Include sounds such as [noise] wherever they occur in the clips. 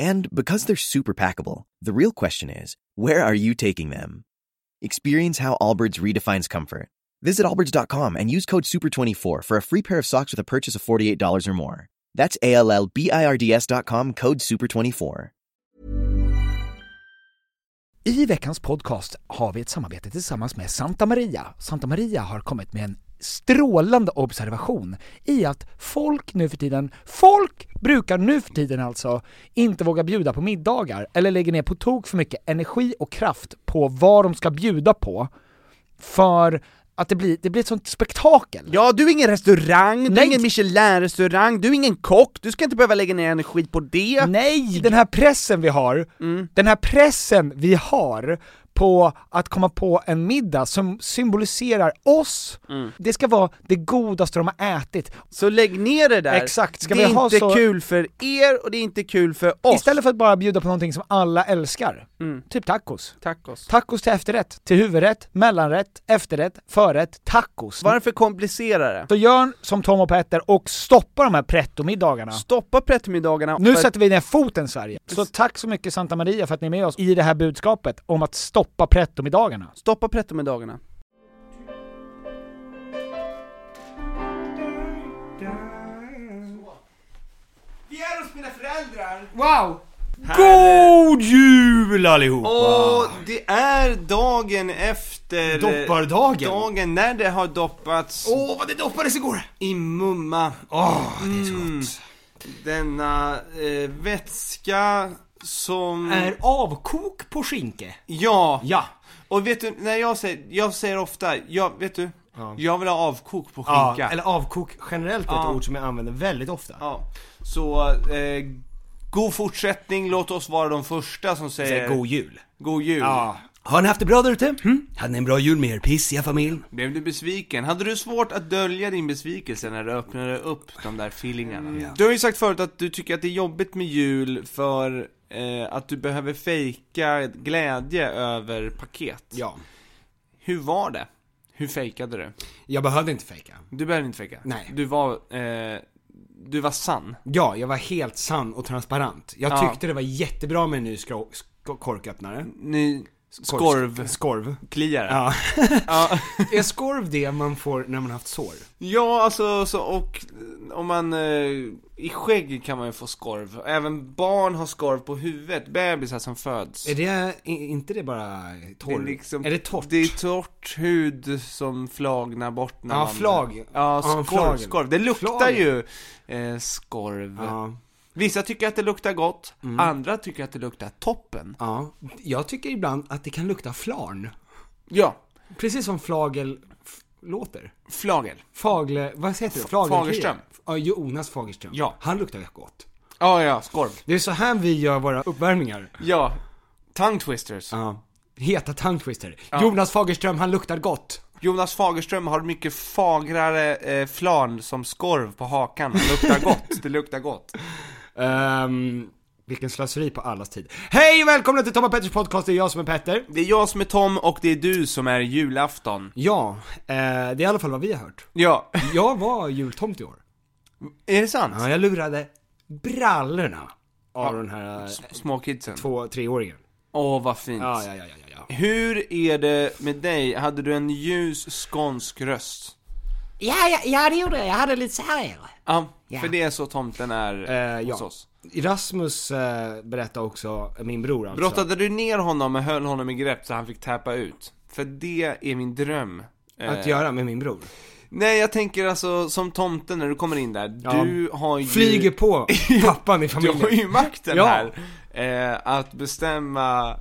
And because they're super packable, the real question is where are you taking them? Experience how Allbirds redefines comfort. Visit Allbirds.com and use code SUPER24 for a free pair of socks with a purchase of $48 or more. That's A L L B I R D S.com code SUPER24. I veckans podcast har vi ett samarbete tillsammans med Santa Maria. Santa Maria har kommit med en strålande observation i att folk nu för tiden, folk brukar nu för tiden alltså inte våga bjuda på middagar eller lägger ner på tok för mycket energi och kraft på vad de ska bjuda på för att det blir, det blir ett sånt spektakel. Ja, du är ingen restaurang, du Nej. är ingen Michelin-restaurang, du är ingen kock, du ska inte behöva lägga ner energi på det. Nej! Den här pressen vi har, Mm. den här pressen vi har på att komma på en middag som symboliserar oss, Mm. det ska vara det godaste de har ätit. Så lägg ner det där. Exakt, ska det är vi ha inte så- kul för er och det är inte kul för oss. Mm. Istället för att bara bjuda på någonting som alla älskar, typ tacos. Tacos. Tacos till efterrätt, till huvudrätt, mellanrätt, efterrätt, förrätt, tacos. Varför komplicera det? Så gör som Tom och Petter och stoppa de här pretto-middagarna. Stoppa prettomiddagarna. Nu för- sätter vi ner foten Sverige. Så tack så mycket Santa Maria för att ni är med oss i det här budskapet om att stoppa pretto-middagarna. Stoppa prettomiddagarna. Vi är hos mina föräldrar! Wow! God jul allihopa! Och det är dagen efter... Doppardagen. Dagen när det har doppats Åh, vad det doppades igår! i mumma. Mm. Åh, det är så gott. Denna eh, vätska som... Är avkok på skinke? Ja. Ja. Och vet du, när jag säger, jag säger ofta, jag, vet du? Jag vill ha avkok på ja skinka. eller avkok generellt är ett Ja. ord som jag använder väldigt ofta. Ja. Så, eh, god fortsättning, låt oss vara de första som Så här, säger God jul. god jul. eh, Har ni haft det bra där ute? Hm? Hade ni en bra jul med er pissiga familj? Blev du besviken? Hade du svårt att dölja din besvikelse när du öppnade upp de där feelingarna? Mm. Du har ju sagt förut att du tycker att det är jobbigt med jul för eh, att du behöver fejka glädje över paket. Ja. Hur var det? Hur fejkade du? Jag behövde inte fejka. Du behövde inte fejka. Nej. Du var, eh, du var sann. Ja, jag var helt sann och transparent. Jag Ja. tyckte det var jättebra med en ny skro- sk- korköppnare. Ni, Korv- skorv, Skorv. kliare. Ja. Ja. är skorv det man får när man haft sår? Ja, alltså, så, och eh, om man, eh, i skägg kan man ju få skorv. Även barn har skorv på huvudet, bebisar som föds. Är det, i- inte det bara torr? Det är, liksom, är det torrt? Det är torrt hud som flagnar bort när Ja, man... flag. Ja, Ja, skorv, flagen. skorv. Det luktar Flagen. ju eh, skorv. ja, Mm. Vissa tycker att det luktar gott, andra tycker att det luktar toppen. ja. Jag tycker ibland att det kan lukta flarn. Ja, Precis som flagel f- låter. flagel. Fagle, vad heter det? Flagelkille. Fagerström. Ja, Jonas Fagerström. Ja. Han luktar ju gott. Ja, ja, skorv. Det är så här vi gör våra uppvärmningar. Ja, tongue twisters. Ja. Heta tongue twister. Jonas Fagerström, han luktar gott. Jonas Fagerström har mycket fagrare eh, flan som skorv på hakan. Det [laughs] luktar gott, det luktar gott. Ehm, vilken slöseri på allas tid. Hej och välkomna till Tom och Petters podcast, det är jag som är Petter. Det är jag som är Tom och det är du som är julafton. Ja, eh, det är i alla fall vad vi har hört. Ja, Jag var jultomt i år. är det sant? Ja, jag lurade brallorna av den här eh, S- Små kidsen. två, treåringen. Åh, vad fint. Ja, ja, ja, ja, ja, ja. Hur är det med dig? Hade du en ljus skånsk röst? Ja, ja, ja, det gjorde jag. Jag hade lite så här. Ja, Ja. för det är så tomten är Eh, hos ja. oss. Rasmus eh, berättade också, min bror alltså. Brottade du ner honom och höll honom i grepp så han fick täppa ut? För det är min dröm. Eh, Att göra med min bror. Nej, jag tänker alltså som tomten när du kommer in där. Ja. Du har ju... [laughs] Flyger på pappan i Du har familjen. ju makten [laughs] Ja. här, eh, att bestämma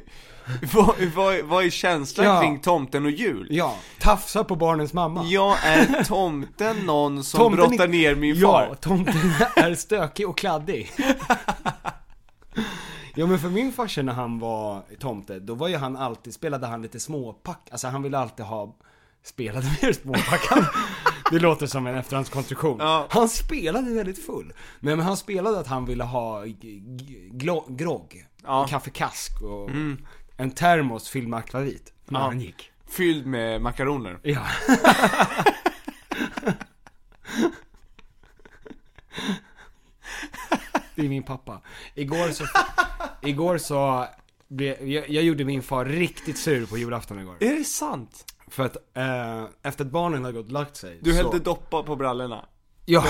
[laughs] vad, vad, vad är känslan Ja. kring tomten och jul? Ja, tafsar på barnens mamma. Jag är tomten någon som Tomten brottar är- ner min ja, [laughs] far? tomten är stökig och kladdig. Jo men för min farsa när han var tomte, då var ju han alltid, spelade han lite småpack, alltså han ville alltid ha Spelade mer småpack han, Det låter som en efterhandskonstruktion. Ja. Han spelade väldigt full. Nej men han spelade att han ville ha g- g- glo- grogg, Ja. Mm. kaffekask och en termos fylld med akvavit. När han gick. Fylld med makaroner. Ja. Det är min pappa. Igår så, igår så, blev, jag, jag gjorde min far riktigt sur på julafton igår. Är det sant? För att eh, efter att barnen hade gått och lagt sig Du så, hällde doppa på brallorna. Ja,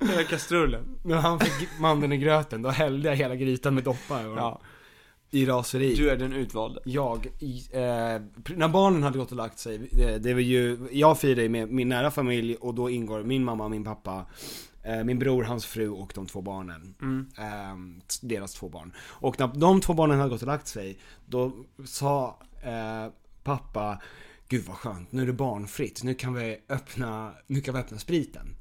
[laughs] Hela kastrullen. när han fick mannen i gröten då hällde jag hela grytan med doppa och, Ja. i raseri. Du är den utvalde. jag, i, eh, pr- när barnen hade gått och lagt sig, eh, det, det var ju, jag firar ju med min nära familj och då ingår min mamma, min pappa, eh, min bror, hans fru och de två barnen. Eh, t- deras två barn. Och när de två barnen hade gått och lagt sig, då sa eh, pappa Gud vad skönt, nu är det barnfritt, nu kan vi öppna, nu kan vi öppna spriten.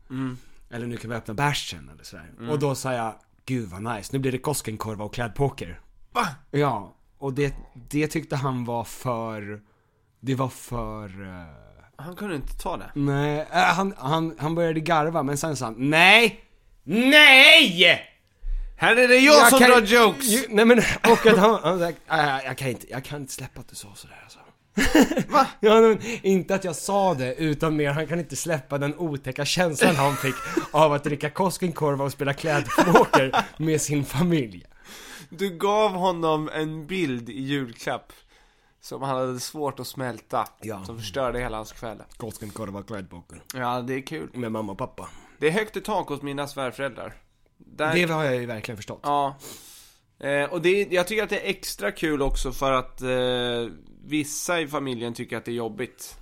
Eller nu kan vi öppna bärsen eller sådär. Och då sa jag, gud vad nice, nu blir det Koskenkorva och klädpoker. Ja, och det, det tyckte han var för, det var för, eh, Han kunde inte ta det. nej, eh, han, han, han började garva men sen sa han nej, NEJ! Här är det jag, som kan- drar jokes! Ju, nej men, och att han, han sa, "Nej, jag kan inte, jag kan inte släppa att du sa sådär alltså. Va? [laughs] Ja, men, inte att jag sa det, utan mer han kan inte släppa den otäcka känslan han fick av att dricka Koskenkorva och spela klädpoker med sin familj. Du gav honom en bild i julklapp. Som han hade svårt att smälta. Ja. Som förstörde hela hans kväll. Koskenkorva och klädpoker. Ja, det är kul. Med mamma och pappa. Det är högt i tak hos mina svärföräldrar. Där... Det har jag ju verkligen förstått. Ja. Eh, och det, är- jag tycker att det är extra kul också för att eh, vissa i familjen tycker att det är jobbigt.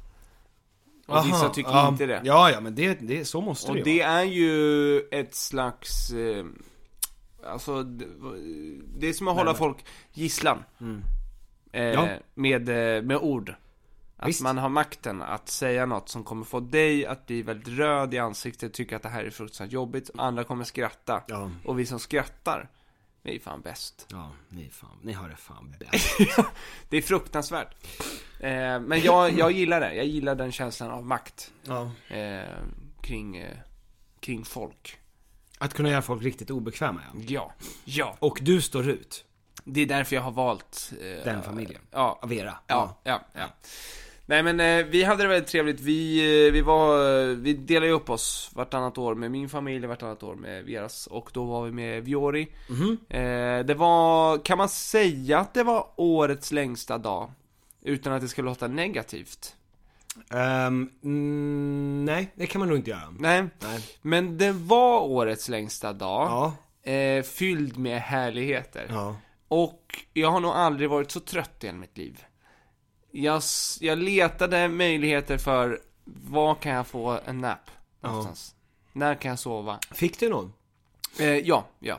Och vissa tycker ja, inte det. Ja, ja men det, det, så måste och det, det vara. är ju ett slags... Eh, alltså, det, det är som att hålla folk gisslan. Eh, Mm. Ja. med, eh, med ord. Att Visst. man har makten att säga något som kommer få dig att bli väldigt röd i ansiktet, tycka att det här är fruktansvärt jobbigt. Andra kommer skratta. Ja. Och vi som skrattar, vi är fan bäst. Ja, ni, fan, ni har det fan bäst. Det är fruktansvärt. Eh, men jag, jag gillar det. Jag gillar den känslan av makt ja. eh, kring, eh, kring folk. Att kunna göra folk riktigt obekväma, ja. Ja, ja. Och du står ut. Det är därför jag har valt... eh, Den familjen. Ja, Av era. ja, ja. ja. Nej men eh, vi hade det väldigt trevligt. Vi, eh, vi var, eh, vi delade ju upp oss vartannat år med min familj, vartannat år med Veras. Och då var vi med Viori. Mhm. Eh, det var, kan man säga att det var årets längsta dag? Utan att det ska låta negativt. Ehm, mm, nej, det kan man nog inte göra. Nej. Nej. Men det var årets längsta dag. Ja. Eh, fylld med härligheter. Ja. Och jag har nog aldrig varit så trött i hela mitt liv. Jag, s- jag letade möjligheter för var kan jag få en nap någonstans? När kan jag sova? Fick du någon? Eh, ja, ja.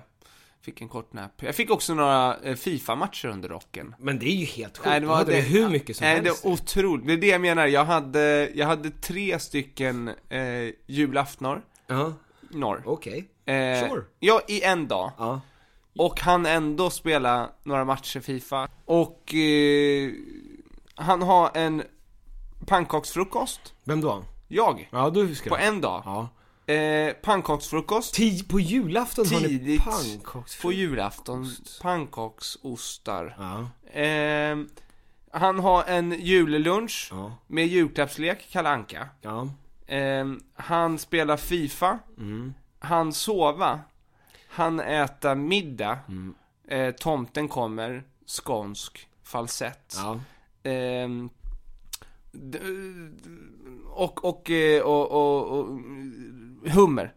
Fick en kort nap. Jag fick också några eh, FIFA-matcher under rocken. Men det är ju helt sjukt. Nej, det var Hade det- du hur mycket som Nej, helst. det är otroligt. Det är det jag menar. Jag hade, jag hade tre stycken eh, julaftnar. Ja, Norr. okej. Eh, Oh, Sure. Ja, i en dag. Ja. Och han ändå spela några matcher Fifa. Och eh, han har en pannkaksfrukost. Vem då? Jag. Ja, du ska På en dag. Ja. Eh, pannkaksfrukost. Tid på julafton har ni Tidigt pannkaksfrukost. på julafton. Pannkaksostar. Ja. Eh, han har en jullunch. Ja. Med julklappslek, Kalle Anka. Ja. Eh, han spelar Fifa. Mm. Han sova. Han äta middag. Mm. Eh, tomten kommer. Skånsk falsett. Ja. Ehm, d- och, och, eh, och, och, och hummer.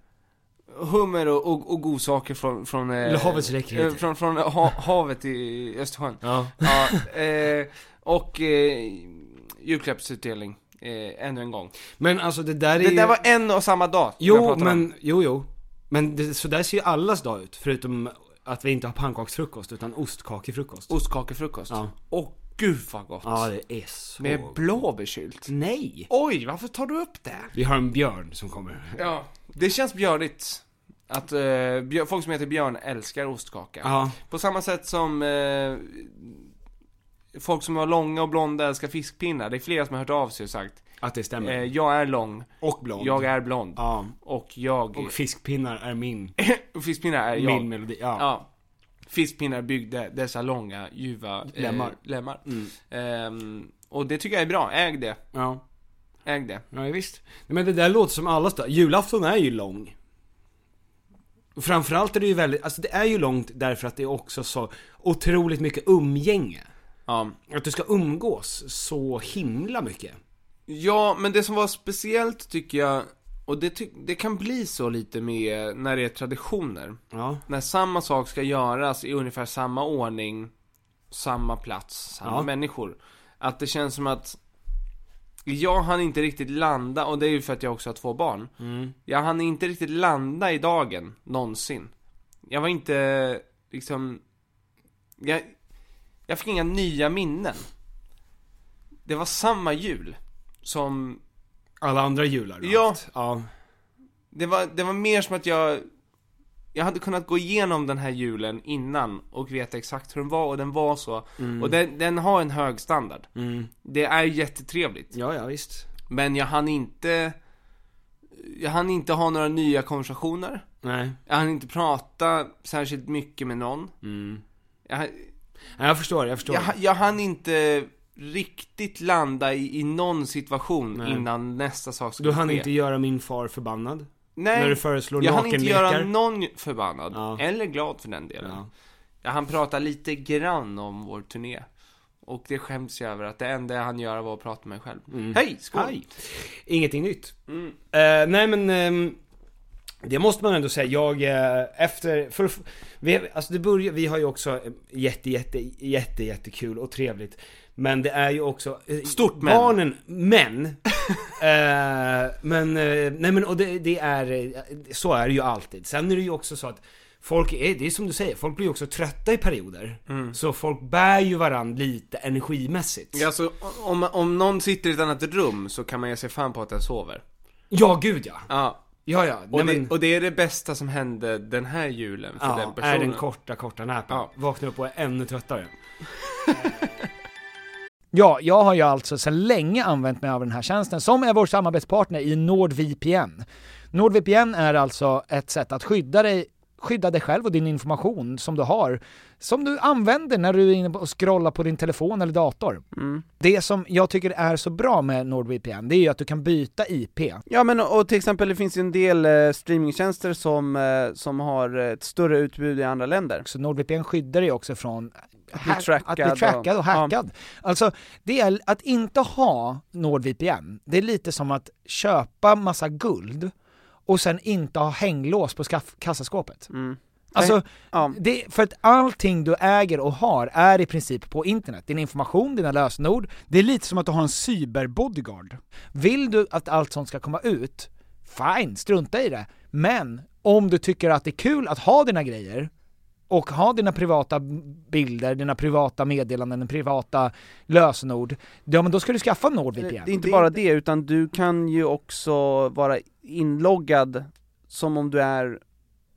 Hummer och, och, och godsaker från, från, eh, Havets räckvidd. eh, från, från ha, havet i Östersjön. Ja. Ja, eh, och eh, julklappsutdelning, eh, ännu en gång. Men alltså det där är Det ju... där var en och samma dag. jag Jo, pratar om. men, jo, jo. Men det, så där ser ju allas dag ut, förutom att vi inte har pannkaksfrukost, utan ostkakefrukost. Ostkakefrukost. Ja. Åh gud vad gott. Ja, det är Mm. så... Med blåbärssylt. Nej! Oj, varför tar du upp det? Vi har en björn som kommer. Ja, det känns björnigt. Att eh, björ- folk som heter Björn älskar ostkaka. Ja. På samma sätt som eh, folk som har långa och blonda älskar fiskpinnar. Det är flera som har hört av sig och sagt Att det stämmer. eh, Jag är lång, och blond. jag är blond Ja. och jag... Och fiskpinnar är min, Och fiskpinnar är jag. min melodi. Ja. Ja. Fiskpinnar byggde dessa långa, ljuva eh, Lemmar. lemmar. Mm. Ehm, och det tycker jag är bra. Äg det. ja. Äg det. Ja, visst. Nej, Men det där låter som alla stö- Julafton är ju lång. Och Framförallt är det ju väldigt, alltså det är ju långt därför att det är också så otroligt mycket umgänge. Ja. Att du ska umgås så himla mycket. Ja, men det som var speciellt tycker jag, och det, ty- det kan bli så lite med när det är traditioner. Ja. När samma sak ska göras i ungefär samma ordning, samma plats, samma Ja. människor. Att det känns som att jag hann inte riktigt landa, och det är ju för att jag också har två barn. Mm. Jag hann inte riktigt landa i dagen, någonsin. Jag var inte, liksom, jag, jag fick inga nya minnen. Det var samma jul som Alla andra jular du har Ja. haft. ja. Det var, det var mer som att jag Jag hade kunnat gå igenom den här julen innan och veta exakt hur den var och den var så Och den, den har en hög standard Mm. Det är jättetrevligt Ja, ja visst. Men jag hann inte Jag hann inte ha några nya konversationer Nej. Jag hann inte prata särskilt mycket med någon Mm. jag, Nej, jag förstår, jag förstår. jag, jag hann inte riktigt landa i, i någon situation innan nästa sak skulle Du hann ske. inte göra min far förbannad. Nej, När du föreslår jag hann inte göra nakenlekar. någon förbannad, Ja. eller glad för den delen. Ja. Jag hann prata lite grann om vår turné. Och det skäms jag över att det enda jag hann göra var att prata med mig själv. Mm. Hej, skål! Aj. Ingenting nytt. Eh, nej men, ehm, det måste man ändå säga. Jag, eh, efter, för, vi, alltså det börjar, vi har ju också eh, jätte, jätte, jätte, jättekul och trevligt. Men det är ju också... eh, Stort men. Barnen, men. [laughs] eh, men, eh, nej men och det, det är, eh, så är det ju alltid. Sen är det ju också så att Folk är, det är som du säger, folk blir ju också trötta i perioder. Så folk bär ju varandra lite energimässigt. Ja, Alltså, om, om någon sitter i ett annat rum så kan man ge sig fan på att den sover. Ja, gud ja. Ja. Ja, ja. Och, Nej, men- det, och det är det bästa som hände den här julen för den personen. är den korta, korta näpen. Ja. Vaknar upp och är ännu tröttare. [laughs] Ja, jag har ju alltså sedan länge använt mig av den här tjänsten som är vår samarbetspartner i NordVPN. NordVPN är alltså ett sätt att skydda dig, skydda dig själv och din information som du har, som du använder när du är inne och scrollar på din telefon eller dator. Mm. Det som jag tycker är så bra med NordVPN, det är ju att du kan byta IP. Ja men och till exempel det finns ju en del eh, streamingtjänster som, eh, som har ett större utbud i andra länder. Så NordVPN skyddar dig också från bli hack- att trackad bli och- trackad och, ja. hackad. Alltså, det är, att inte ha NordVPN, det är lite som att köpa massa guld och sen inte ha hänglås på skaff- kassaskåpet. Alltså, Ja. det, för att allting du äger och har är i princip på internet. Din information, dina lösenord. Det är lite som att du har en cyberbodyguard. Vill du att allt sånt ska komma ut, fine, strunta i det. Men om du tycker att det är kul att ha dina grejer och ha dina privata bilder, dina privata meddelanden, dina privata lösenord, ja men då ska du skaffa NordVPN. Det är inte bara det, utan du kan ju också vara inloggad som om du är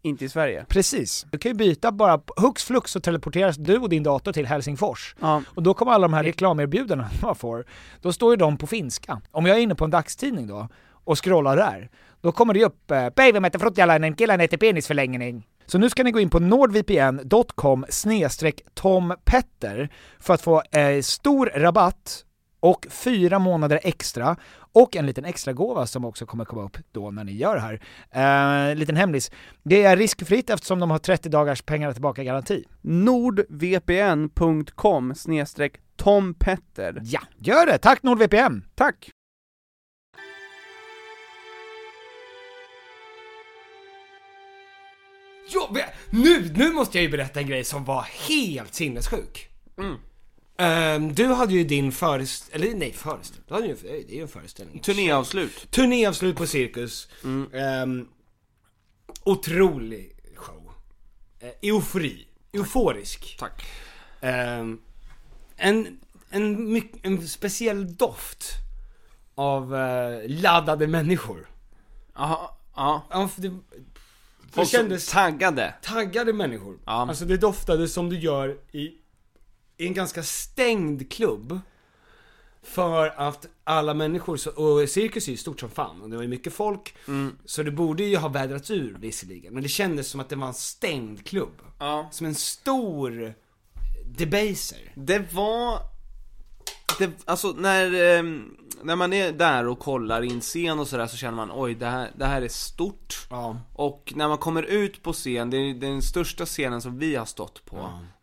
inte i Sverige. Precis. Du kan ju byta bara, hux flux så teleporteras du och din dator till Helsingfors. Ja. Och då kommer alla de här reklamerbjudandena [laughs] man får, då står ju de på finska. Om jag är inne på en dagstidning då och scrollar där, då kommer det ju upp eh, “Baby mäter fruttjalainen, killen äter penisförlängning”. Så nu ska ni gå in på nordvpn.com tompetter för att få eh, stor rabatt och fyra månader extra och en liten extra gåva som också kommer komma upp då när ni gör det här. Eh, liten hemlis. Det är riskfritt eftersom de har 30 dagars pengar tillbaka-garanti. nordvpn.com snedstreck tompetter. Ja, gör det! Tack NordVPN! Tack! Ja, men nu, nu måste jag ju berätta en grej som var helt sinnessjuk. Ehm, du hade ju din föreställning, eller nej föreställning, du hade ju, det är ju en föreställning. Turnéavslut. Turnéavslut på Cirkus. Ehm, otrolig show. Uh, eufori. Euforisk. Tack. Ehm, en, en, myck- en speciell doft av eh, laddade människor. Jaha, ja. Ja, för det, Det Folk som kändes taggade. taggade människor. Ja. Alltså det doftade som du gör i, i en ganska stängd klubb. För att alla människor, så- och cirkus är ju stort som fan och det var ju mycket folk. Mm. Så det borde ju ha vädrats ur visserligen, men det kändes som att det var en stängd klubb. Ja. Som en stor debaser. Det var... Det, alltså när, ehm, när man är där och kollar in scen och sådär så känner man oj, det här, det här är stort. Ja. Och när man kommer ut på scen, det är den största scenen som vi har stått på.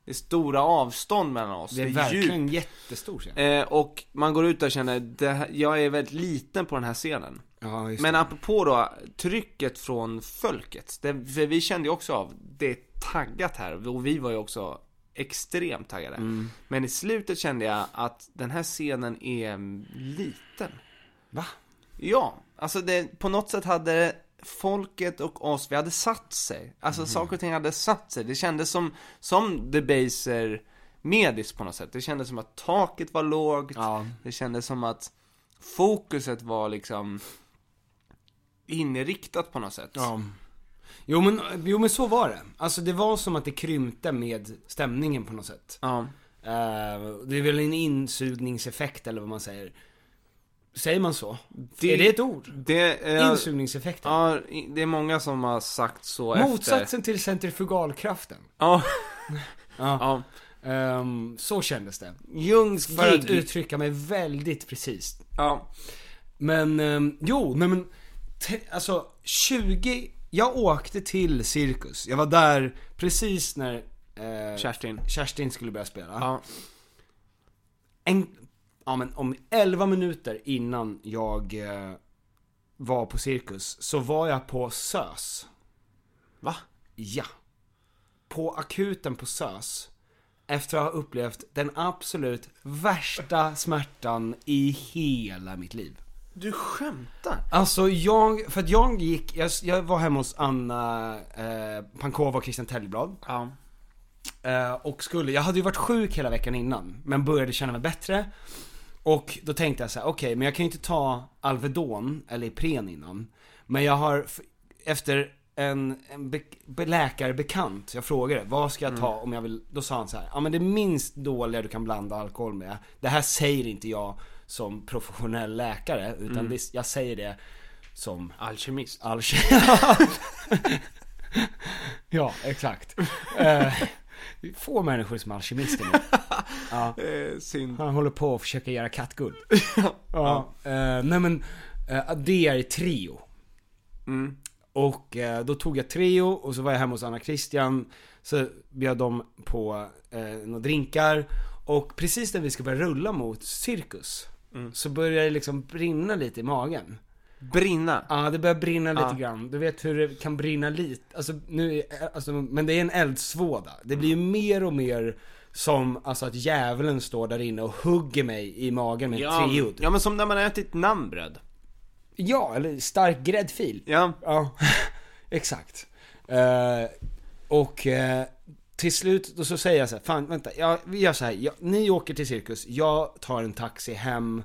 Det är stora avstånd mellan oss, Det är djup. verkligen jättestor scen. Eh, och man går ut där och känner, det här, jag är väldigt liten på den här scenen. Ja, just Men apropå då, trycket från folket. Det, för vi kände ju också av, det är taggat här. Och vi var ju också extremt taggade. Mm. Men i slutet kände jag att den här scenen är mm, liten. Va? Ja, alltså det, på något sätt hade folket och oss, vi hade satt sig. Alltså Mhm. saker och ting hade satt sig. Det kändes som, som Debaser medis på något sätt. Det kändes som att taket var lågt. Ja. Det kändes som att fokuset var liksom inriktat på något sätt. Ja. Jo men, jo men så var det. Alltså det var som att det krympte med stämningen på något sätt. Ja. Eh, det är väl en insugningseffekt eller vad man säger. Säger man så? Det- Är det ett ord? Det, eh, Insugningseffekten? ja, i- det är många som har sagt så efter. Motsatsen till centrifugalkraften. Ja, Ja. ja. Ehm, så kändes det. Jungs gig. För att uttrycka mig väldigt precis. Ja. Men, ehm, jo, nej men, te, alltså 20, jag åkte till Cirkus. Jag var där precis när eh, Kerstin. Kerstin skulle börja spela. Ja. En, ja men om 11 minuter innan jag eh, var på Cirkus så var jag på SÖS. Va? Ja. På akuten på SÖS. Efter att ha upplevt den absolut värsta smärtan i hela mitt liv. Du skämtar? Alltså jag, för att jag gick, jag, jag var hemma hos Anna eh, Pankova och Christian Tellblad. Ja. Eh, och skulle, jag hade ju varit sjuk hela veckan innan, men började känna mig bättre. Och då tänkte jag så här: okej men jag kan ju inte ta Alvedon, eller Ipren innan. Men jag har, f- efter en, en be, be, läkarbekant, jag frågade vad ska jag ta om jag vill, då sa han så här, ja men det minst dåliga du kan blanda alkohol med, det här säger inte jag som professionell läkare, utan det, jag säger det som Alkemist. All [laughs] ja, exakt. Eh, få människor som alkemister [laughs] nu. Eh, synd. Han håller på att försöka göra kattguld. ja. eh, nej men, eh, det är Trio. Mm. Och eh, då tog jag Trio och så var jag hemma hos Anna Christian. Så bjöd de på eh, några drinkar. Och precis när vi ska börja rulla mot Cirkus. Så börjar det liksom brinna lite i magen. Brinna. Ja, det börjar brinna Ja. lite grann. Du vet hur det kan brinna lite, alltså nu, är- alltså, men det är en eldsvåda. Det blir ju mer och mer som, alltså att djävulen står där inne och hugger mig i magen med ja. Ja, triod. Ja. ja, men som när man har ätit namnbröd. eller stark gräddfil. Ja. Ja, [laughs] exakt. Eh, och eh, till slut då så säger jag så här, fan vänta, jag, vi gör så här, jag, ni åker till cirkus, jag tar en taxi hem,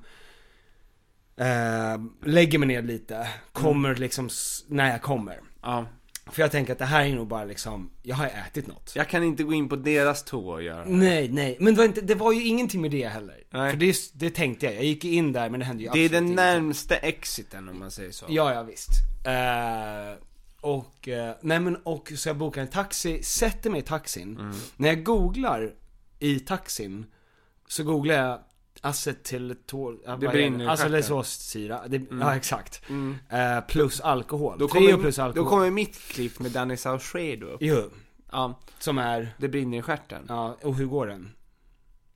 eh, lägger mig ner lite, kommer liksom s- när jag kommer. ja. För jag tänker att det här är nog bara liksom, jag har ätit något. Jag kan inte gå in på deras toa och göra. Nej, nej, men det var, inte, det var ju ingenting med det heller. Nej. För det, är- det tänkte jag, jag gick in där men det hände ju Det är absolut den ingenting. närmsta exiten om man säger så. Ja, ja visst. Eh, och, eh, nej men och så jag bokar en taxi, sätter mig i taxin. Mm. När jag googlar i taxin så googlar jag acetyletol, Det brinner i Mm. acetylsåssyra, det, ja exakt. Eh, plus alkohol, Då Trio kommer, plus alkohol. då kommer mitt klipp med Danny Saucedo upp. Jo, Ja, som är, det brinner i stjärten. ja, och hur går den?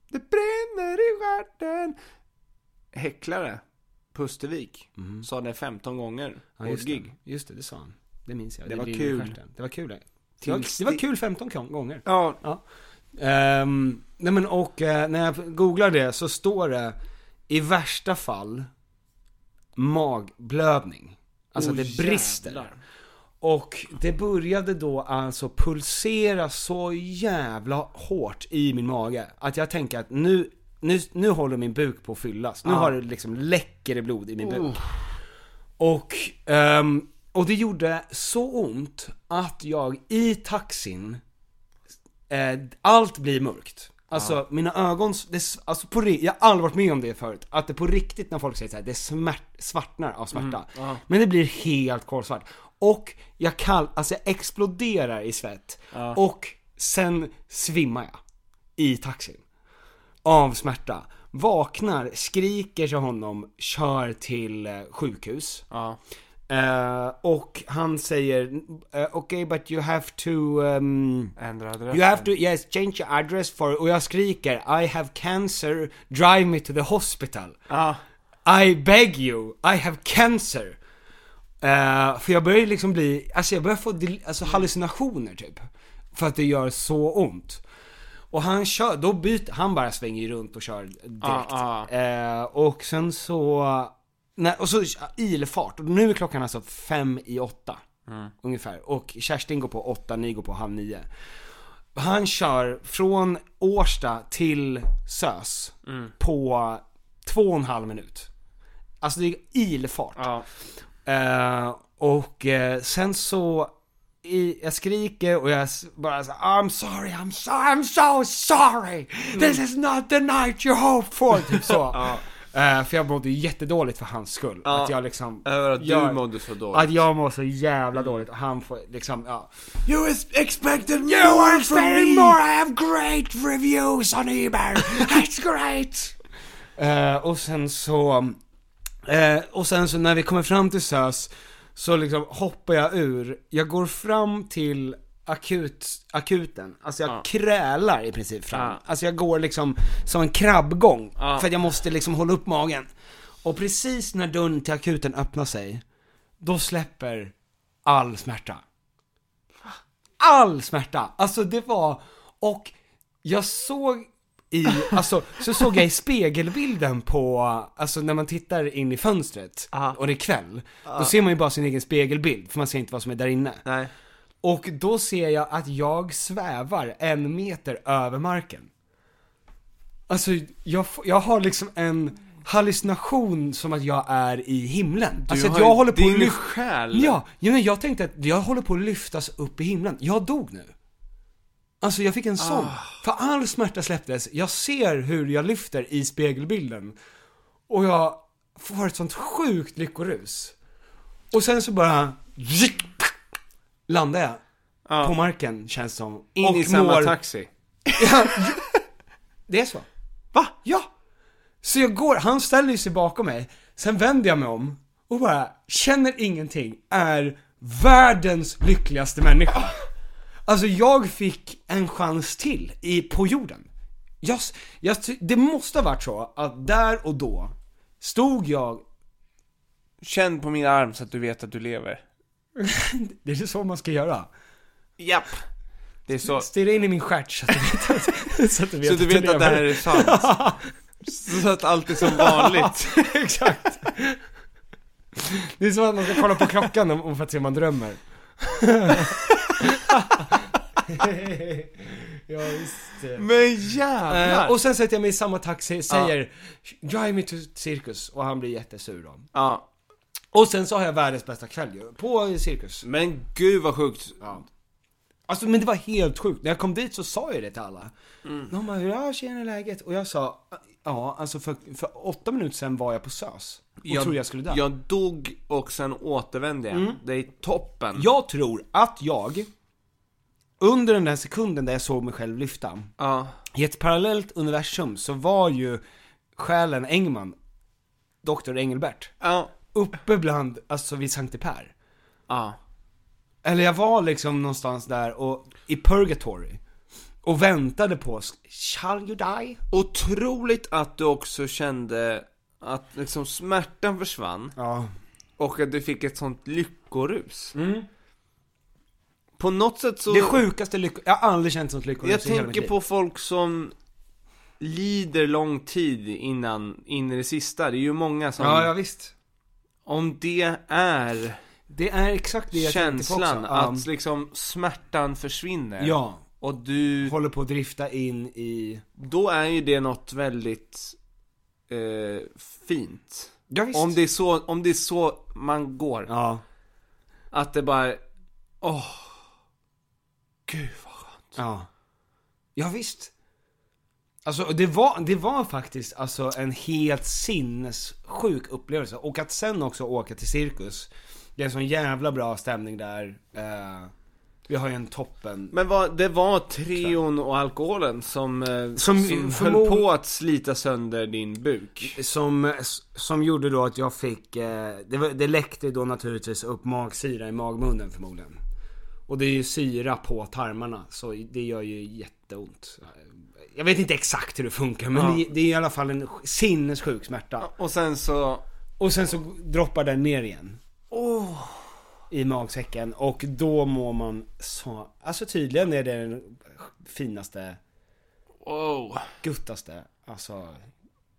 Det brinner i stjärten. Häcklare, Pustervik, sa det 15 gånger på ett just, det. gig. just det, det sa han. Det minns jag. Det var brinner i kul. stjärten. Det var kul. Det, det, var, Tills det var det- kul 15 gång- gånger. Ja, Ehm, nej men och eh, när jag googlar det så står det i värsta fall magblödning. Alltså Oh, att det brister. jävlar. Och det började då alltså pulsera så jävla hårt i min mage att jag tänker att nu, nu, nu håller min buk på Oh. att fyllas. Nu har det liksom läcker det blod i min buk. Och ehm, Och det gjorde så ont att jag i taxin, eh, allt blir mörkt. Alltså mina ögon, det, s- alltså på, ri- jag har aldrig varit med om det förut, att det på riktigt när folk säger så här, det smärt, svartnar av smärta. Men det blir helt kolsvart. Och jag kall, alltså jag exploderar i svett. Och sen svimmar jag i taxin av smärta. Vaknar, skriker till honom, kör till eh, sjukhus. Ja. Eh, och han säger, eh, okej but you have to, um, Ändra you adress. have to, yes change your address for, och jag skriker I have cancer, drive me to the hospital. Ja. I beg you, I have cancer. Eh, för jag börjar liksom bli, alltså jag börjar få del- alltså hallucinationer typ. För att det gör så ont. Och han kör, då byter, han bara svänger ju runt och kör direkt. Ah, Eh, och sen så, nej, och så ilfart. Och nu är klockan alltså fem i åtta. Ungefär. Och Kerstin går på åtta, ni går på halv nio. Han kör från Årsta till Sös Mm. på två och en halv minut. Alltså det är ilfart. Ja. Eh, och eh, sen så, i, jag skriker och jag s- bara så, I'm sorry, I'm so, I'm so sorry! Mm. This is not the night you hoped for! [laughs] Typ så. Eh, för jag mådde ju jättedåligt för hans skull. Att jag liksom... Över att Eh, du jag- mådde så dåligt. Att jag mår så jävla dåligt och han får liksom, ja. You expected Mm. You are expecting more, I have great reviews on Ebay! [laughs] It's great! Eh, och sen så, eh, och sen så när vi kommer fram till SÖS så liksom hoppar jag ur, jag går fram till akut, akuten, alltså jag krälar i princip fram. Ja. Alltså jag går liksom som en krabbgång, Ja. för att jag måste liksom hålla upp magen. Och precis när dörren till akuten öppnar sig, då släpper all smärta. All smärta! Alltså det var, och jag såg i, alltså så såg jag i spegelbilden på, alltså när man tittar in i fönstret och det är kväll, då ser man ju bara sin egen spegelbild för man ser inte vad som är där inne. Nej. Och då ser jag att jag svävar en meter över marken. Alltså jag, f- jag har liksom en hallucination som att jag är i himlen. alltså att har jag ju- håller på din att lyfta- själ. Ja, ja men jag tänkte att jag håller på att lyftas upp i himlen. Jag dog nu. Alltså jag Ah. fick en sån. För all smärta släpptes, jag ser hur jag lyfter i spegelbilden. Och jag får ett sånt sjukt lyckorus. Och sen så bara... Landar jag. På marken känns som. In och i samma mår- taxi. Det är så. Va? Ja! Så jag går, han ställer ju sig bakom mig, sen vänder jag mig om och bara känner ingenting, är världens lyckligaste människa. Alltså jag fick en chans till i, på jorden. Jag, s- jag, ty- det måste ha varit så att där och då stod jag, Känn på min arm så att du vet att du lever. det är så man ska göra. Japp. Det är så. Stirra in i min stjärt så att du vet att, [laughs] så att, du vet Så du vet att det här lever. är sant. [laughs] Så att allt är som vanligt. Exakt. Det är som att man ska kolla på klockan om, om för att se om man drömmer. ja, visst. [laughs] Men Eh, jävlar. och sen sätter jag mig i samma taxi, säger Drive me to cirkus och han blir jättesur då. Ja. Och sen så har jag världens bästa kväll ju, på cirkus. Men gud vad sjukt. Alltså men det var helt sjukt, när jag kom dit så sa jag det till alla. De bara, hur är tjena läget? Och jag sa, ja alltså för, för åtta minuter sen var jag på SÖS och trodde jag skulle dö. Jag Mm. dog och sen återvände jag. Det är toppen. Jag tror att jag, under den där sekunden där jag såg mig själv lyfta, Ja. i ett parallellt universum så var ju själen Engman, Dr. Engelbert, Ja. uppe bland, alltså vid Sankte Per. Ja. Eller jag var liksom någonstans där och, i Purgatory, och väntade på, shall you die? Otroligt att du också kände att liksom smärtan försvann Ja. och att du fick ett sånt lyckorus. På något sätt så... Mm. Det sjukaste lycko, jag har aldrig känt sånt lyckorus Jag i hela mitt tänker liv. på folk som lider lång tid innan, in i det sista. Det är ju många som, Ja, ja visst. om det är Det är exakt det jag tänkte känslan på också. att liksom smärtan försvinner. Ja, Och du, håller på att drifta in i... då är ju det något väldigt eh, fint. Ja, Om det, är så, om det är så man går. Ja. Att det bara, åh, gud vad skönt. Ja. Ja visst. Alltså det var, det var faktiskt alltså en helt sinnessjuk upplevelse. Och att sen också åka till Cirkus. Det är en sån jävla bra stämning där. Eh, vi har ju en toppen... Men vad, det var trion och alkoholen som, eh, som, förmo- höll på att slita sönder din buk. Som, som gjorde då att jag fick, eh, det, var, det läckte då naturligtvis upp magsyra i magmunnen förmodligen. Och det är ju syra på tarmarna så det gör ju jätteont. Jag vet inte exakt hur det funkar men Ja. det, det är i alla fall en sinnessjuk smärta. Och sen så, Och sen så droppar den ner igen. I magsäcken och då mår man så, alltså tydligen är det den finaste, wow, guttaste, alltså,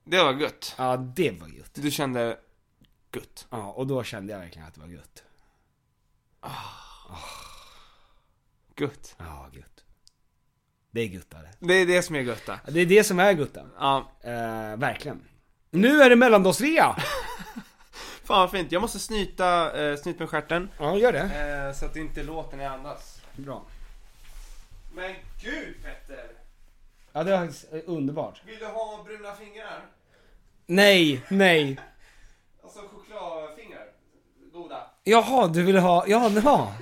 det var gött. ja det var gött. Du kände, gött. Ja och då kände jag verkligen att det var gött. Gött. Ja, gött. Det är gutta det. Det är det som är götta. Det är det som är gutta. Ja, Eh, verkligen. Nu är det mellandagsrea! fan vad fint. Jag måste snyta, eh, snyta med stjärten. ja, gör det. Eh, så att det inte låter när jag andas. Bra. Men gud Petter! Ja, det är eh, underbart. Vill du ha bruna fingrar? Nej, nej. Alltså chokladfingrar? Goda? Jaha, du vill ha, ja, ja.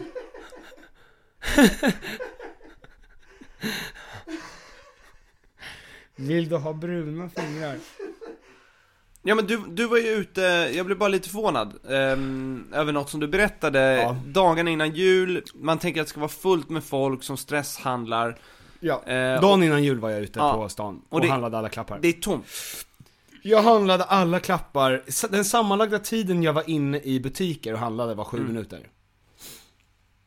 Vill du ha bruna fingrar? Ja men du, du var ju ute, jag blev bara lite förvånad ehm, över något som du berättade Ja. dagarna innan jul, man tänker att det ska vara fullt med folk som stresshandlar Ja. eh, och Dagen innan jul var jag ute Ja. på stan och, Och det- handlade alla klappar. det är tomt. Jag handlade alla klappar, S- den sammanlagda tiden jag var inne i butiker och handlade var sju minuter.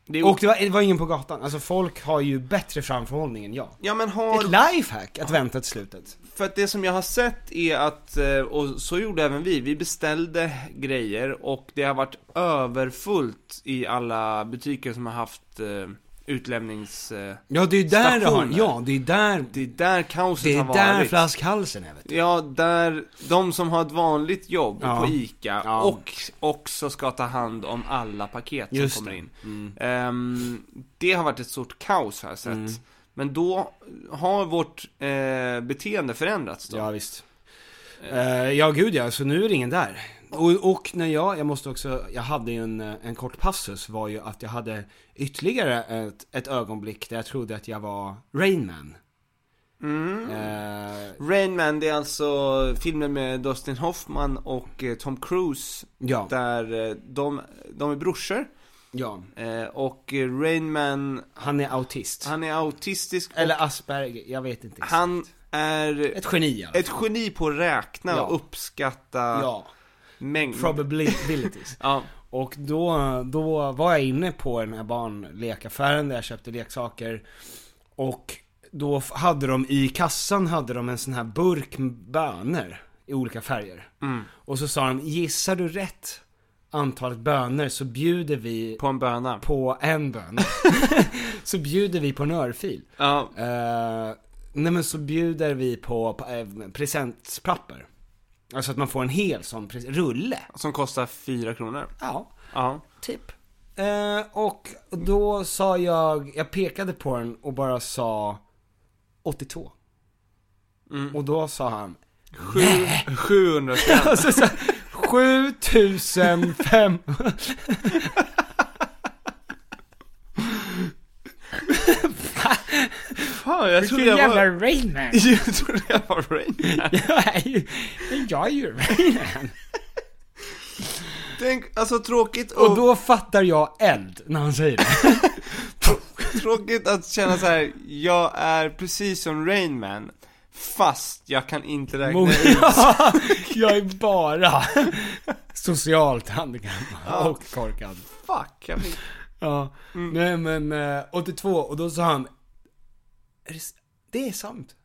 Det är Och det var, det var ingen på gatan, alltså folk har ju bättre framförhållning än jag. Ja men har, Ett lifehack att vänta till slutet. för att det som jag har sett är att, eh, och så gjorde även vi, vi beställde grejer och det har varit överfullt i alla butiker som har haft eh, utlämnings... Eh, Ja det är där det har, Stationer. ja det är där, det är där kaoset det är har där varit. flaskhalsen är vet du. Ja, där de som har ett vanligt jobb Ja. på ICA Ja. och också ska ta hand om alla paket som Just kommer det. in. Ehm, det har varit ett stort kaos har jag sett. Mm. Men då har vårt eh, beteende förändrats då. Ja visst. Eh, ja gud ja, så nu är det ingen där. Och, och när jag, jag måste också, jag hade ju en, eh, en kort passus var ju att jag hade ytterligare ett, ett ögonblick där jag trodde att jag var Rainman. Mm. Eh, Rain Man, det är alltså filmen med Dustin Hoffman och eh, Tom Cruise ja, där eh, de, de är brorsor ja. eh, och eh, Rain Man, Han är autist. han är autistisk och Eller Asperger, jag vet inte exakt. han är Ett geni i alla fall. Ett geni på att räkna Ja. och uppskatta Ja, mängd. probabilities. Ja. [laughs] Och då, då var jag inne på den här barnlekaffären där jag köpte leksaker Och då f- hade de i kassan hade de en sån här burk med bönor i olika färger Mm. Och så sa de, gissar du rätt antalet bönor så bjuder vi på, På en böna. en bön [laughs] Så bjuder vi på en örfil Ja. Eh, Nej men så bjuder vi på, på eh, presentpapper Alltså att man får en hel sån pres- rulle Som kostar 4 kronor. Ja Ja. Typ. Eh, och då sa jag, jag pekade på den och bara sa 82. Och då sa Mm. han Sju, 700 spänn. [laughs] alltså, så, 7500. [laughs] Fan, jag trodde jag var... [laughs] Rainman. Jag trodde jag var Rain Man. jag är ju, jag är ju Rainman. Tänk, alltså tråkigt och, Och då fattar jag eld när han säger det. tråkigt att känna så här. jag är precis som Rain Man. Fast jag kan inte räkna Mot- ut. [laughs] jag är bara [laughs] socialt handikappad och korkad. Fuck, jag fick... Ja, Mm. nej men eh, 82 och då sa han är det, s- det är sant.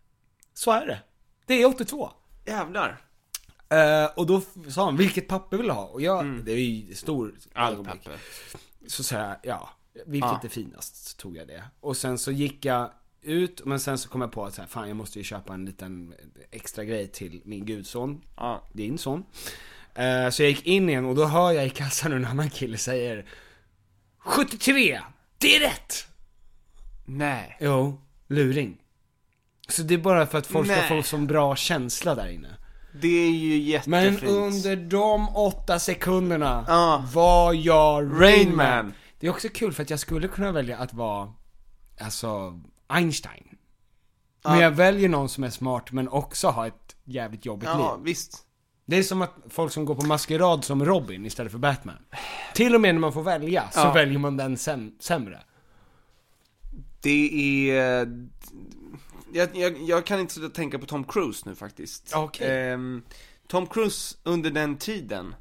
Så är det. Det är 82. Jävlar. Eh, och då f- sa han, vilket papper vill du ha? Och jag, det är ju stor Mm. Allt ögonblick. papper. Så sa jag, ja, vilket är finast? Så tog jag det. Och sen så gick jag ut, men sen så kom jag på att så här, fan jag måste ju köpa en liten extra grej till min gudson Ja. din son. Eh, Så jag gick in igen och då hör jag i kassan hur en annan kille säger 73! Det är rätt! Nej. Jo, luring. Så det är bara för att folk Nej. ska få sån bra känsla där inne. Det är ju jättefint. Men under de åtta sekunderna Ja. var jag Rain Man. Det är också kul för att jag skulle kunna välja att vara, alltså, Einstein. Men jag väljer någon som är smart men också har ett jävligt jobbigt Ja, liv. visst. Det är som att folk som går på maskerad som Robin istället för Batman. Till och med när man får välja så Ja. väljer man den säm- sämre. Det är... Jag, jag, jag kan inte sluta tänka på Tom Cruise nu faktiskt. Okej. Ehm, Tom Cruise under den tiden.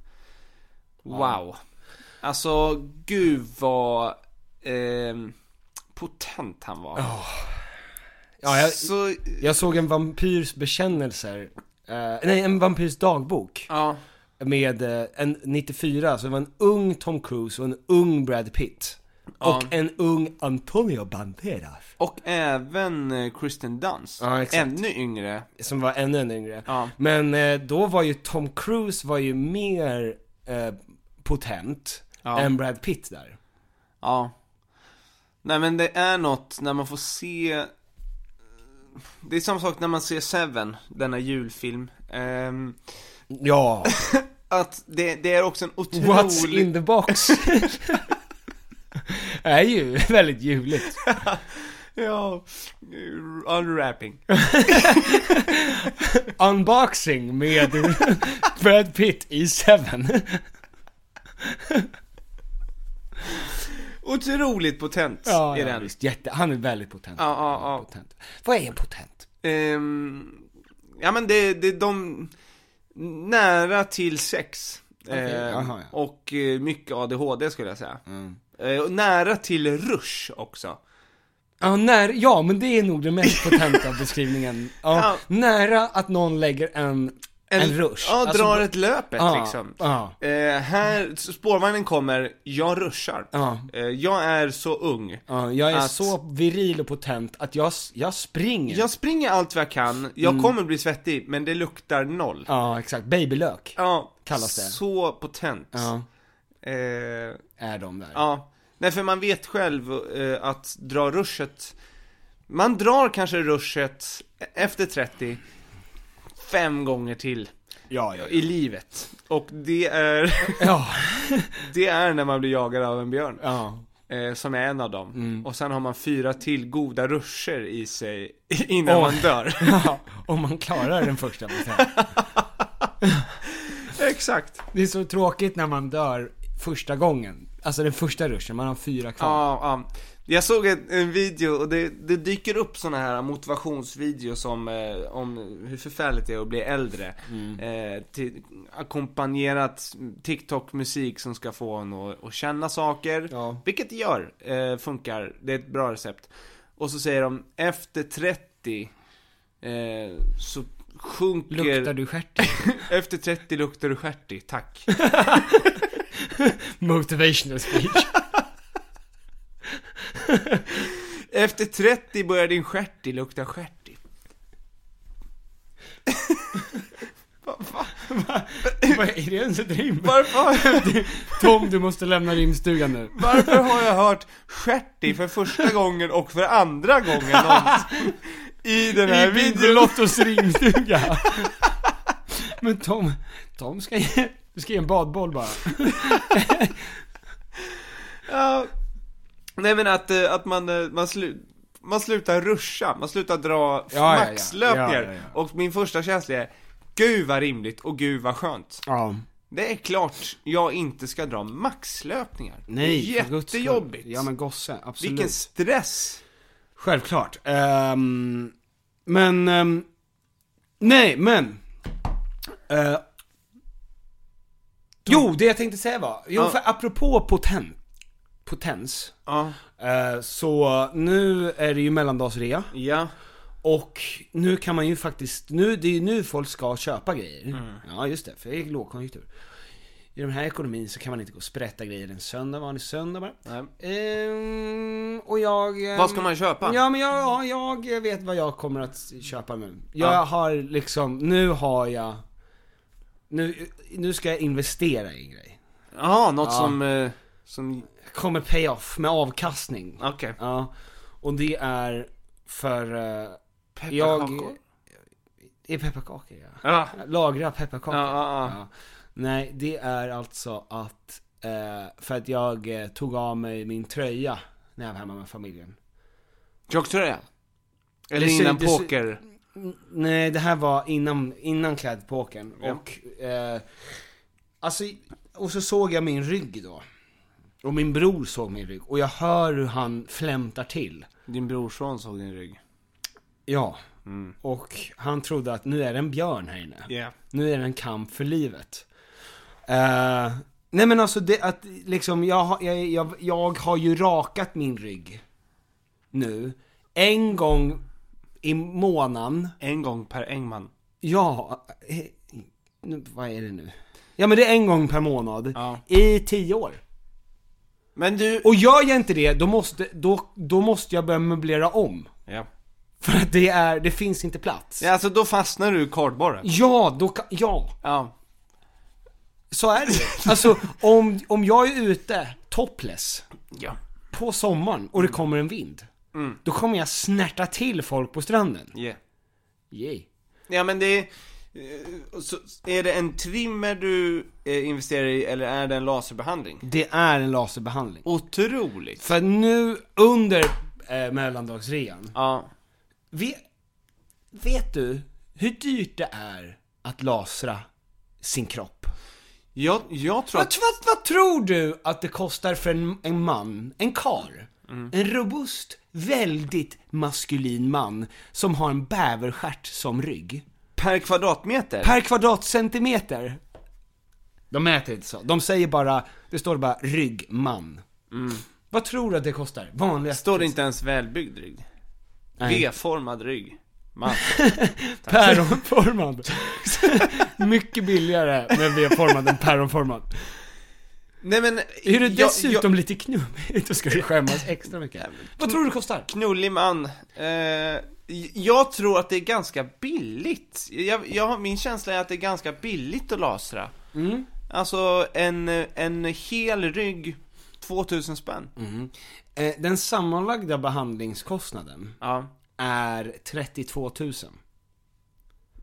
Wow. Alltså, gud vad ehm, potent han var. Ja, jag, Så, jag såg en vampyrs bekännelser, eh, nej en vampyrs dagbok. ja. med eh, en 94, så det var en ung Tom Cruise och en ung Brad Pitt. Och en ung Antonio Banderas. Och även eh, Kristen Dunst. Ja, exakt. Ännu yngre. Som var ännu, ännu yngre. Ja. Men eh, då var ju Tom Cruise var ju mer eh, potent Ja. än Brad Pitt där. Ja. Nej men det är något när man får se Det är samma sak när man ser Seven, denna julfilm Ehm, Ja, Att det, det är också en otrolig what's in the box? Det är ju väldigt ljuvligt. Ja, eh, unwrapping Unboxing med Brad Pitt i Seven. Otroligt potent Ja, är ja, den visst. Jätte, han är väldigt potent. Ja, ja, ja. potent. Vad är en potent? Ehm, Ja men det, det är de Nära till sex Ehm, aha, ja. Mm. Och eh, mycket ADHD skulle jag säga Eh, och Nära till rush också Ja, när, ja, men det är nog den mest potenta beskrivningen. Ja, Ja. Nära att någon lägger en, en, rush. Ja, Alltså, drar ett löpet ja, liksom. Ja, Eh, här, spårvagnen kommer, jag ruschar. ja, Eh, jag är så ung. ja, jag är Att- så viril och potent att jag, s- jag springer. Jag springer allt vad jag kan, jag Mm. kommer bli svettig, men det luktar noll. Ja, exakt. Babylök Ja, Kallas det. så potent. ja. Eh, är de där. ja. Nej, för man vet själv eh, att dra ruschet, man drar kanske ruschet efter 30, fem gånger till Ja, ja, ja. i livet. Och det är, [laughs] ja. det är när man blir jagad av en björn. ja. Mm. eh, som är en av dem. Och sen har man fyra till goda ruscher i sig [laughs] innan Åh. man [laughs] dör. Ja, om man klarar den första potent. Exakt. [laughs] Det är så tråkigt när man dör första gången. Alltså den första ruschen, man har fyra kvar. Ja, ja. Jag såg en, en video och det, det dyker upp såna här motivationsvideos om, eh, om hur förfärligt det är att bli äldre. Mm. Eh, till, ackompanjerat TikTok-musik som ska få en att, att känna saker. Ja. Vilket det gör, eh, funkar, det är ett bra recept. Och så säger de, efter 30 eh, så sjunker... Luktar du stjärten? Efter 30 luktar du stjärtig, tack. [laughs] [laughs] Motivational speech. Efter 30 börjar din stjärtig lukta stjärtig. [laughs] Vad är det ens ett rim? Varför, har- Tom, du måste lämna rimstugan nu. varför har jag hört stjärtig för första gången och för andra gången någonsin? I den här I videon. Bingolottos [laughs] rimstuga. Men Tom, Tom ska ge, du ska ge en badboll bara. Ja. Nej men att, eh, att man, eh, man, slu, man slutar ruscha, man slutar dra ja, ja. maxlöpningar. Ja, ja, Och min första känsla är, gud vad rimligt och gud vad skönt. Ja. Det är klart jag inte ska dra maxlöpningar. Nej, för guds skull. Jättejobbigt. Ja men gosse, absolut. Vilken stress! Självklart. Ehm, men, ehm, nej men. Eh, jo, det jag tänkte säga var, jo Ja. för apropå potent, potens. Ja. eh, så nu är det ju mellandagsrea. Ja. Och nu kan man ju faktiskt, nu, det är ju nu folk ska köpa grejer. Mm. Ja just det, för det är lågkonjunktur. I den här ekonomin så kan man inte gå och sprätta grejer en söndag, vanlig söndag bara. Ehm, och jag... ehm, Vad ska man köpa? Ja men jag, ja, jag vet vad jag kommer att köpa nu. Jag Ja. har liksom, nu har jag... Nu, nu ska jag investera i en grej. Jaha, något som, eh, Som, Kommer payoff med avkastning. okej. Ja, och det är för... eh, Pepparkakor? Det är pepparkakor ja. Ja. Lagra pepparkakor. Ja, ja, ja. Nej, det är alltså att... Eh, för att jag eh, tog av mig min tröja när jag var hemma med familjen. Jocktröja? Eller Det ser- innan det ser- poker? Mm, Nej, det här var innan, innan klädpåken. Ja. Och, eh, alltså, och så såg jag min rygg då. Och min bror såg min rygg. Och jag hör hur han flämtar till. Din brorson såg din rygg. Ja. Och han trodde att nu är det en björn här inne. Yeah. Nu är det en kamp för livet. Eh, nej men alltså det att liksom, jag, har- jag, jag, jag har ju rakat min rygg. Nu. En gång i månaden. En gång per Engman. Ja, eh, nu, vad är det nu? Ja men det är en gång per månad. Ja. I tio år. Men du... Och gör jag inte det, då måste, då, då måste jag börja möblera om. Ja. För att det är, det finns inte plats. ja. Alltså då fastnar du i kardborren. Ja, då kan, ja. Ja. Så är det ju. Alltså, om, om jag är ute, topless, Ja. på sommaren och det Mm. kommer en vind. Då kommer jag snärta till folk på stranden. Yeah. Yay. Ja men det är... eh, Så är det en trimmer du eh, investerar i eller är det en laserbehandling? Det är en laserbehandling. Otroligt! För nu under eh, mellandagsrean, Ja. vet, vet du hur dyrt det är att lasra sin kropp? Jag, jag tror Vad, att... vad, vad tror du att det kostar för en, en man, en kar? En robust, väldigt maskulin man som har en bäverstjärt som rygg. Per kvadratmeter? Per kvadratcentimeter. De mäter inte så. De säger bara, det står bara rygg, man. Vad tror du att det kostar? Vanliga Står det inte ens välbyggd rygg? Nej. V-formad rygg. Man. päronformad. [laughs] Mycket billigare med V-formad än päronformad. Nej men... Är det jag- dessutom jag- lite knubbigt, [laughs] då ska du skämmas extra mycket. Vad tror du det kostar? Knullig man. Eh, jag tror att det är ganska billigt. Jag, jag, har- min känsla är att det är ganska billigt att lasra. Alltså en, en hel rygg, 2000 spänn. Eh, Den sammanlagda behandlingskostnaden Ja. är 32 000.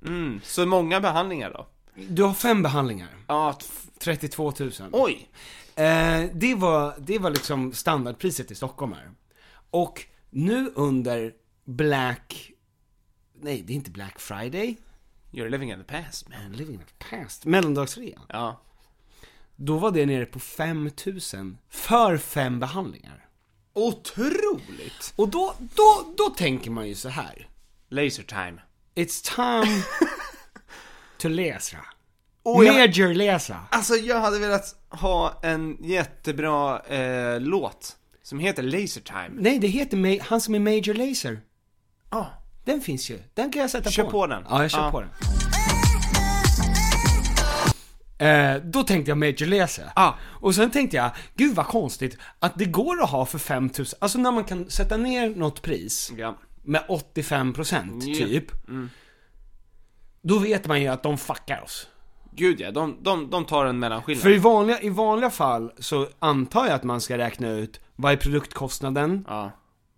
Mm. Så många behandlingar då? Du har fem behandlingar. Ja, t- 32 000. oj! Eh, det, var, det var liksom standardpriset i Stockholm här. Och nu under Black... Nej, det är inte Black Friday. You're living in the past man. I'm living in the past. Mellandagsrean. Ja. Då var det nere på 5 000 för fem behandlingar. Otroligt! Och då, då, då tänker man ju så här. Laser time. It's [laughs] time to läsa. Och jag- Major läsa. Alltså jag hade velat ha en jättebra eh, låt som heter Laser time. Nej, det heter ma- han som är Major Laser. Ah. Den finns ju. Den kan jag sätta Kör på. på den. Ja, jag kör Ja. på den. Eh, då tänkte jag Major Lazer. Ah. Och sen tänkte jag, gud vad konstigt att det går att ha för 5000, alltså när man kan sätta ner något pris Ja. med 85% Ja. Mm. typ. Då vet man ju att de fuckar oss. Gud ja, de, de, de tar en mellanskillnad. För i vanliga, i vanliga fall så antar jag att man ska räkna ut vad är produktkostnaden, Ja.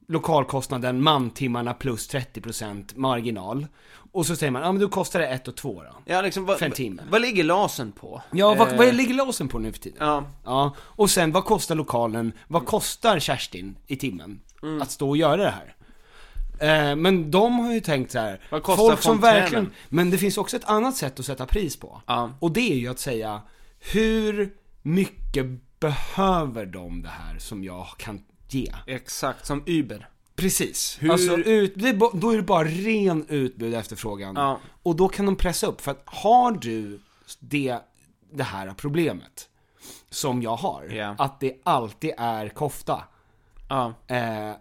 lokalkostnaden, mantimmarna plus 30% marginal. Och så säger man, ja men då kostar det 1 och 2 då. Ja, liksom, vad, För en timme. vad ligger lasen på? Ja, vad, Eh, vad ligger låsen på nu för tiden? Ja, Ja, och sen vad kostar lokalen, vad kostar Kerstin i timmen Mm. att stå och göra det här? Eh, men de har ju tänkt så här, Vad kostar folk som fontänen? verkligen, men det finns också ett annat sätt att sätta pris på. Ja. Och det är ju att säga, hur mycket behöver de det här som jag kan ge? exakt. Som Uber. Precis. Hur- Alltså, ut, det är ba- då är det bara ren utbud och efterfrågan. Ja. Och då kan de pressa upp, för att har du det, det här problemet som jag har, Ja. att det alltid är kofta, Ja. eh,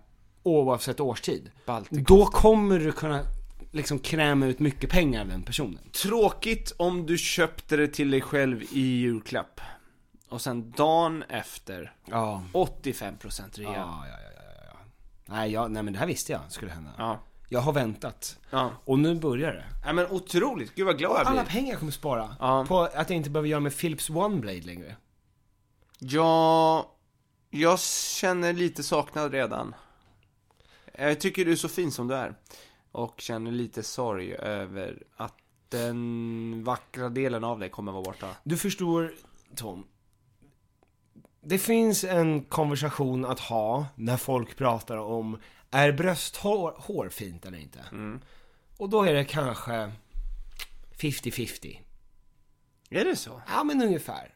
oavsett årstid, Baltikum. då kommer du kunna liksom kräma ut mycket pengar av den personen. Tråkigt om du köpte det till dig själv i julklapp. Och sen dagen efter, Ja. 85% rea. Ja, Ja. ja, ja, ja, ja, ja. Nej, jag, nej men det här visste jag skulle hända. ja. Jag har väntat. Och nu börjar det. Nej, men otroligt, gud vad glad jag Alla blir. pengar jag kommer spara Ja. på att jag inte behöver göra med Philips OneBlade längre. Ja, Jag känner lite saknad redan. Jag tycker du är så fin som du är. Och känner lite sorg över att den vackra delen av dig kommer vara borta. Du förstår, Tom. Det finns en konversation att ha när folk pratar om är brösthår hår fint eller inte? Och då är det kanske 50-50. Är det så? Ja men ungefär.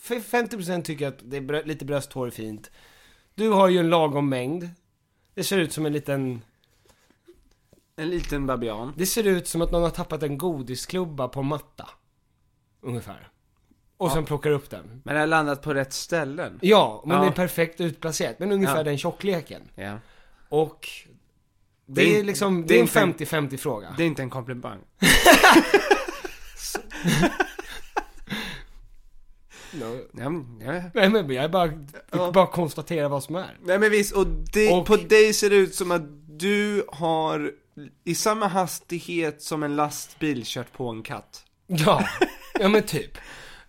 För 50% tycker att det är brö- lite brösthår är fint. Du har ju en lagom mängd. Det ser ut som en liten... En liten babian. Det ser ut som att någon har tappat en godisklubba på en matta. Ungefär. Och sen plockar upp den. Men den har landat på rätt ställen. Ja, men Ja. det är perfekt utplacerat. Men ungefär Ja. den tjockleken. Ja. Och... Det, Det är- är liksom, det det är är en inte en- 50-50 fråga. Det är inte en [laughs] komplimang. No. Ja, men- ja. Nej men jag är bara, Ja. bara konstaterar vad som är. Nej men visst, och, det, Och- på dig ser det ut som att du har i samma hastighet som en lastbil kört på en katt. Ja, ja men typ.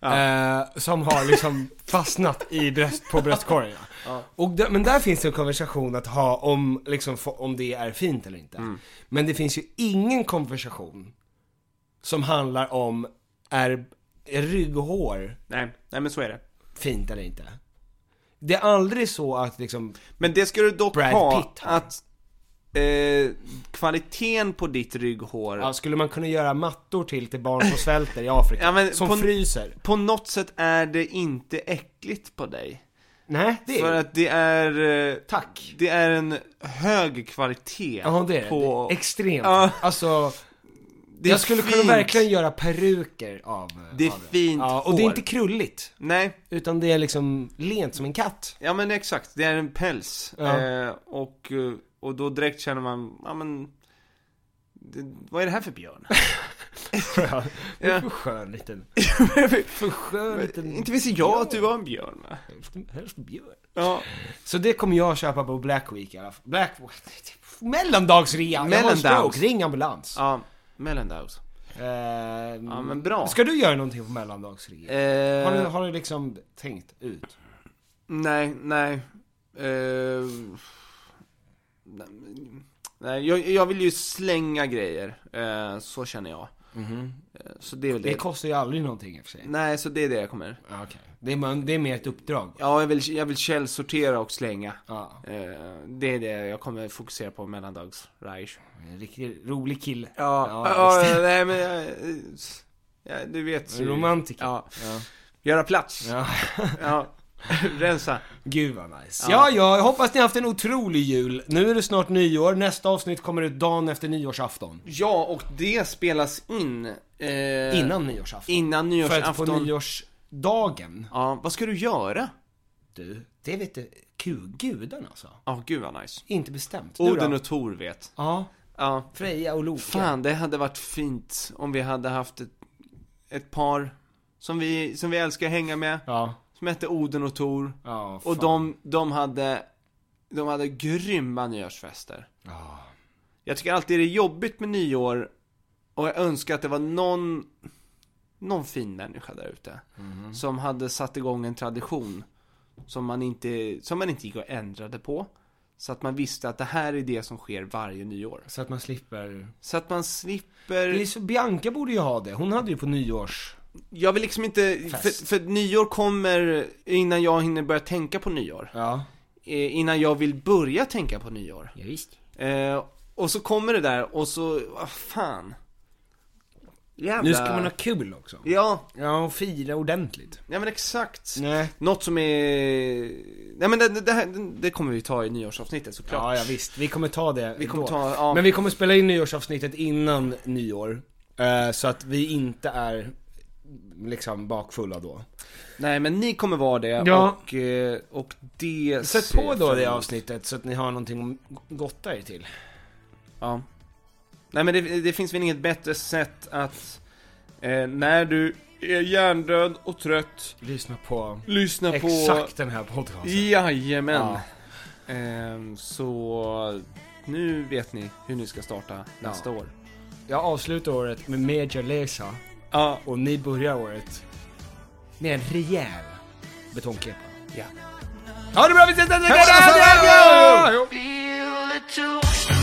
Eh, som har liksom fastnat i bröst, på bröstkorgen. Ja. Och där- men där finns det en konversation att ha om, liksom, få- om det är fint eller inte. Mm. Men det finns ju ingen konversation som handlar om är, är rygghår Nej, nej men så är det. fint eller inte. Det är aldrig så att liksom, Men det ska du dock Brad ha, Pitt har. att eh, kvaliteten på ditt rygghår ja, skulle man kunna göra mattor till till barn som [laughs] svälter i Afrika? Ja, men som på- fryser? På något sätt är det inte äckligt på dig. Nej, det För är att det är... eh, Tack. Det är en hög kvalitet Ja det är på... det. Extremt. Ja. Alltså, Det är jag skulle fint. kunna verkligen göra peruker av Det är av fint ja, Och det är hår. inte krulligt, Nej, utan det är liksom lent som en katt. ja men exakt. Det är en päls. Ja. Eh, och, eh, och då direkt känner man, ja men... Det, vad är det här för [laughs] björn? [laughs] Ja. För skön liten, för skön liten... inte visste jag att du var en björn va? Hälften- hälften björn. Ja. Så det kommer jag köpa på Black Week i alla fall. Black... Mellandagsrean! Jag har en Mellandags. stroke, ring ambulans. Ja, mellandags. Ehm, Ja, men bra. Ska du göra någonting på mellandagsrean? Eh, Har, du, har du liksom tänkt ut? Nej, nej. Eh, nej, jag, jag vill ju slänga grejer. Eh, så känner jag. Eh, Så det är väl det. Mhm. Det kostar ju aldrig någonting i och för sig. Nej, så det är det jag kommer. Ja, Okej. Det, är, man- det är mer ett uppdrag. Ja, jag vill, jag vill källsortera och slänga. Ja, Eh, det är det jag kommer fokusera på mellandags Raish. en riktigt rolig kille. Ja, Ja, ja, nej men... jag- Ja, du vet. En romantiker. Ja. Ja. Göra plats. Ja. [laughs] Ja. Rensa. Gud vad nice. Ja. ja, jag hoppas ni har haft en otrolig jul. Nu är det snart nyår, nästa avsnitt kommer ut dagen efter nyårsafton. Ja, och det spelas in. eh, Innan nyårsafton. Innan För att på nyårsafton. nyårsdagen, Ja, vad ska du göra? du, det vet du, Gud, gudarna alltså. Ja, gud vad nice. Inte bestämt. Du Oden då? och Tor vet. Ja, Ja. Freja och Loke. Fan, det hade varit fint om vi hade haft ett, ett par som vi, som vi älskar att hänga med, Ja, som hette Oden och Tor. ja, fan. Och de, de hade, de hade grymma nyårsfester. Ja. Jag tycker alltid det är jobbigt med nyår och jag önskar att det var någon, någon fin människa där ute. Mhm. Som hade satt igång en tradition som man, inte, som man inte gick och ändrade på. Så att man visste att det här är det som sker varje nyår. Så att man slipper... Så att man slipper... Det är så, Bianca borde ju ha det, hon hade ju på nyårs... Jag vill liksom inte... För, för nyår kommer innan jag hinner börja tänka på nyår. Ja, Eh, Innan jag vill börja tänka på nyår. ja visst. Eh, och så kommer det där och så... Vad fan. Jävla... Nu ska man ha kul också. Ja, Ja, och fira ordentligt. ja men exakt. Nej. Något som är... Nej men det, det, här, det kommer vi ta i nyårsavsnittet såklart. Ja, ja visst. Vi kommer ta det Vi kommer då. ta, ja. Men vi kommer spela in nyårsavsnittet innan nyår. eh, Så att vi inte är liksom bakfulla då. Nej men ni kommer vara det Ja. och, eh, och det... Sätt ser på jag då fram det emot. avsnittet så att ni har någonting att gotta er till. Ja. Nej men det, det finns väl inget bättre sätt att eh, när du är hjärndöd och trött, Lyssna på lyssna på... exakt den här podcasten. Jajamän. Ehm, så nu vet ni hur ni ska starta nästa år. Jag avslutar året med Major Lazer Ja. och ni börjar året med en rejäl betongkepa. ja. Now Ha det bra, vi ses nästa Hej då! vecka! feel it too.